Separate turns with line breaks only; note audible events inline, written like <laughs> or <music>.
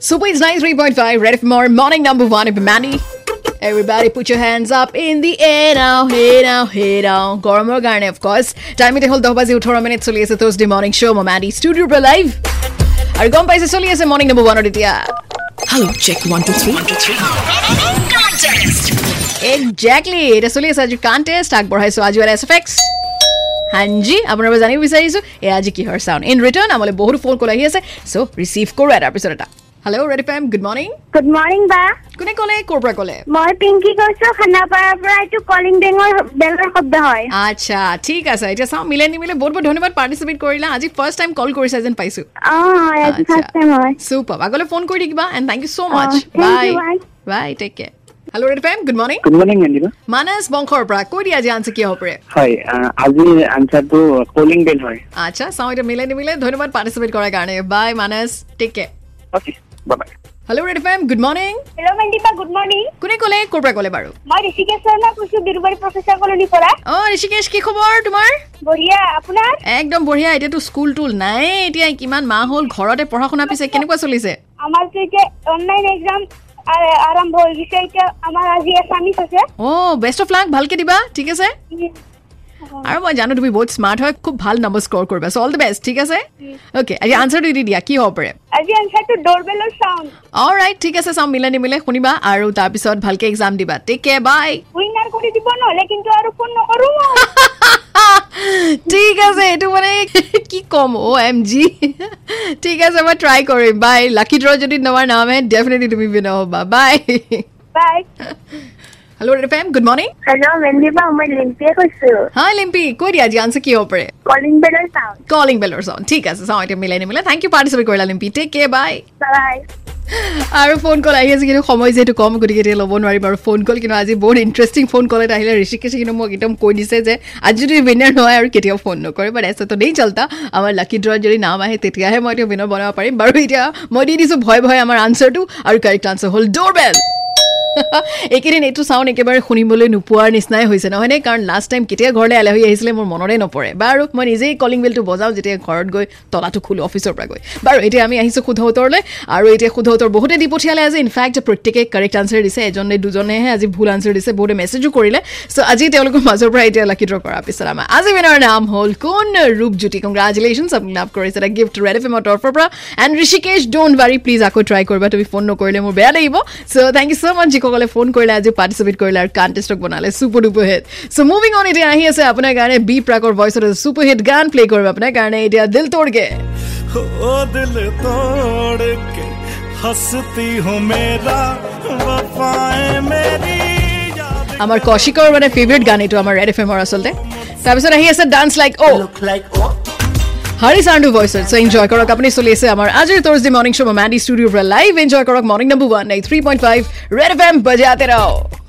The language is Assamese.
Super is 93.5 Red more morning number one இப்ப Mandy. Everybody put your hands up in the air now, hey now, hey now. গৰমৰ কাৰণে of course. টাইম এতিয়া হ'ল দহ বাজি ওঠৰ মিনিট চলি আছে থাৰ্ছডে মৰ্ণিং শ্ব' মই মেণ্ডি ষ্টুডিঅ'ৰ পৰা লাইভ আৰু গম পাইছে চলি আছে মৰ্ণিং নম্বৰ ওৱানত এতিয়া
Hello, check one, two, three.
Exactly এতিয়া চলি আছে আজি কণ্টেষ্ট আগবঢ়াইছোঁ আজি এটা এছ এফ এক্স হাঞ্জি আপোনালোকে জানিব বিচাৰিছোঁ এয়া আজি কিহৰ চাউণ্ড ইন ৰিটাৰ্ণ আমালৈ বহুত ফোন কল আহি আছে চ' ৰিচিভ কৰোঁ এটাৰ পিছত এটা hello' red F M good morning
good morning বা
কোনে ক'লে ক'ৰ পৰা ক'লে
মই পিংকি কৈছো খানাপাৰাৰ পৰা এইটো কলিং বেঙৰ বেলৰ শব্দ হয়
আচ্ছা ঠিক আছে এতিয়া চাওঁ মিলে নিমিলে বহুত বহুত ধন্যবাদ পাৰ্টিচিপেট কৰিলা আজি ফাৰ্ষ্ট টাইম কল কৰিছা যেন পাইছোঁ
অ আজি
আচ্ছা।
ফাৰ্ষ্ট টাইম হয়
চুপাৰ আগলৈ ফোন কৰি থাকিবা and thank you so' much
Ah, thank you,
bye
bye.
Bye take care hello' red FM good morning
good morning মেণ্ডিবা
মানস বংশৰ পৰা কৈ দিয়া আজি আনছে কি হ'ব পাৰে
হয় আহ, আজি আনচাৰটো কলিং বেল হয়
আচ্ছা চাওঁ এতিয়া মিলে নিমিলে ধন্যবাদ পাৰ্টিচিপেট কৰাৰ কাৰণে bye Manas take care
okay bye
hello' red FM good morning
hello' মেণ্ডিপা গুড মৰ্ণিং
কোনে ক'লে ক'ৰ পৰা ক'লে বাৰু
মই ঋষিকেশ শৰ্মা কৈছো বিৰুবাৰী প্ৰফেচাৰ কলনীৰ পৰা
অ ঋষিকেশ কি খবৰ তোমাৰ
বঢ়িয়া আপোনাৰ
একদম বঢ়িয়া এতিয়াতো স্কুল টুল নাই এতিয়া কিমান মাহ হ'ল ঘৰতে পঢ়া শুনা পিছে কেনেকুৱা চলিছে
আমাৰতো এতিয়া অনলাইন এক্সাম আৰম্ভ হৈ গৈছে এতিয়া আমাৰ আজি এছামিছ আছে
অ' বেষ্ট অফ লাক ভালকে দিবা ঠিক আছে আৰু মই জানো তুমি বহুত স্মাৰ্ট হয় খুব ভাল নম্বৰ স্ক'ৰ কৰিবা চ' অল দ্য বেষ্ট ঠিক আছে অ'কে আজি আনচাৰটো দি দিয়া কি হ'ব পাৰে
আজি আনচাৰটো ডৰবেলৰ চাউণ্ড
অল ৰাইট ঠিক আছে চাওঁ মিলে নিমিলে শুনিবা আৰু তাৰপিছত ভালকে এক্সাম দিবা টেক কেয়াৰ বাই
উইনাৰ কৰি দিব নহ'লে কিন্তু আৰু ফোন নকৰো মই।
<laughs>
<laughs>
ঠিক আছে এইটো মানে <laughs> কি ক'ম অ' এম জি <laughs> ঠিক আছে মই ট্ৰাই কৰিম বাই লাকি ড্ৰ যদি তোমাৰ নাম আহে ডেফিনেটলি তুমি বিন হ'বা bye <laughs>
bye
hello' red FM good morning
hello' মেণ্ডিপা মই লিম্পিয়ে কৈছো
হাই লিম্পি কৈ দিয়া আজি আনচাৰ কি হ'ব পাৰে
কলিং বেলৰ চাউণ্ড
কলিং বেলৰ চাওঁ ঠিক আছে চাওঁ এতিয়া মিলাই নিমিলে থেংক ইউ পাৰ্টিচিপেট কৰিলা Limpi take care bye
bye
আৰু ফোন কল আহি আছে কিন্তু সময় যিহেতু কম গতিকে এতিয়া ল'ব নোৱাৰিম আৰু ফোন কল কিন্তু আজি বহুত ইণ্টাৰেষ্টিং ফোন কল এটা আহিলে ঋষিকেশে কিন্তু মোক একদম কৈ দিছে যে আজি যদি উইনাৰ নহয় আৰু কেতিয়াও ফোন নকৰে বাট এছাতো নেই চলতা আমাৰ লাকি ড্ৰত যদি নাম আহে তেতিয়াহে মই এতিয়া উইনাৰ বনাব পাৰিম বাৰু এতিয়া মই দি দিছোঁ ভয় ভয় আমাৰ আনচাৰটো আৰু কাৰেক্ট আনচাৰ হ'ল ড'ৰ বেল <laughs> এইকেইদিন এইটো চাউণ্ড একেবাৰে শুনিবলৈ নোপোৱাৰ নিচিনাই হৈছে নহয়নে কাৰণ লাষ্ট টাইম কেতিয়া ঘৰলৈ আলহী আহিছিলে মোৰ মনতে নপৰে বাৰু মই নিজেই কলিং বেলটো বজাওঁ যেতিয়া ঘৰত গৈ তলাটো খোলোঁ অফিচৰ পৰা গৈ বাৰু এতিয়া আমি আহিছোঁ শুদ্ধ উত্তৰলৈ আৰু এতিয়া শুদ্ধ উত্তৰ বহুতে দি পঠিয়ালে আজি ইনফেক্ট প্ৰত্যেকে কাৰেক্ট আনচাৰ দিছে এজনে দুজনেহে আজি ভুল আনচাৰ দিছে বহুতে মেছেজো কৰিলে চ' আজি তেওঁলোকৰ মাজৰ পৰা এতিয়া লাকি ড্ৰ কৰাৰ পিছত আমাৰ আজি উইনাৰ নাম হ'ল কোন ৰূপজ্যোতি কংগ্ৰেচুলেশ্যনছ আপুনি লাভ কৰিছে এটা গিফ্ট ৰেড এফ এমৰ তৰফৰ পৰা and Rishikesh don't worry please আকৌ ট্ৰাই কৰিবা তুমি ফোন নকৰিলে মোৰ বেয়া লাগিব so' thank you so' much যিসকলে ফোন কৰিলে আজি পাৰ্টিচিপেট কৰিলে আৰু কণ্টেষ্টক বনালে super duper hit so' moving on এতিয়া আহি আছে আপোনাৰ কাৰণে বি প্ৰাকৰ ভইচত চুপাৰ হিট গান প্লে' কৰিব আপোনাৰ কাৰণে এতিয়া দিল তোড়কে
ओ दिल तोड़ के हंसती हो मेरा वफाएं मेरी यादें
আমাৰ কৌশিকৰ মানে ফেভৰেট গান এইটো আমাৰ ৰেড এফ এমৰ আচলতে তাৰপিছত আহি আছে dance like oh'
look like oh
Hari Chandu ভইচত চ' এনজয় কৰক আপুনি চলি আছে আমাৰ আজিৰ থাৰ্ছডে মৰ্ণিং শ্ব' মেণ্ডি ষ্টুডিঅ'ৰ পৰা লাইভ এনজয় কৰক morning number one nine three point five red F M বজাতে ৰহ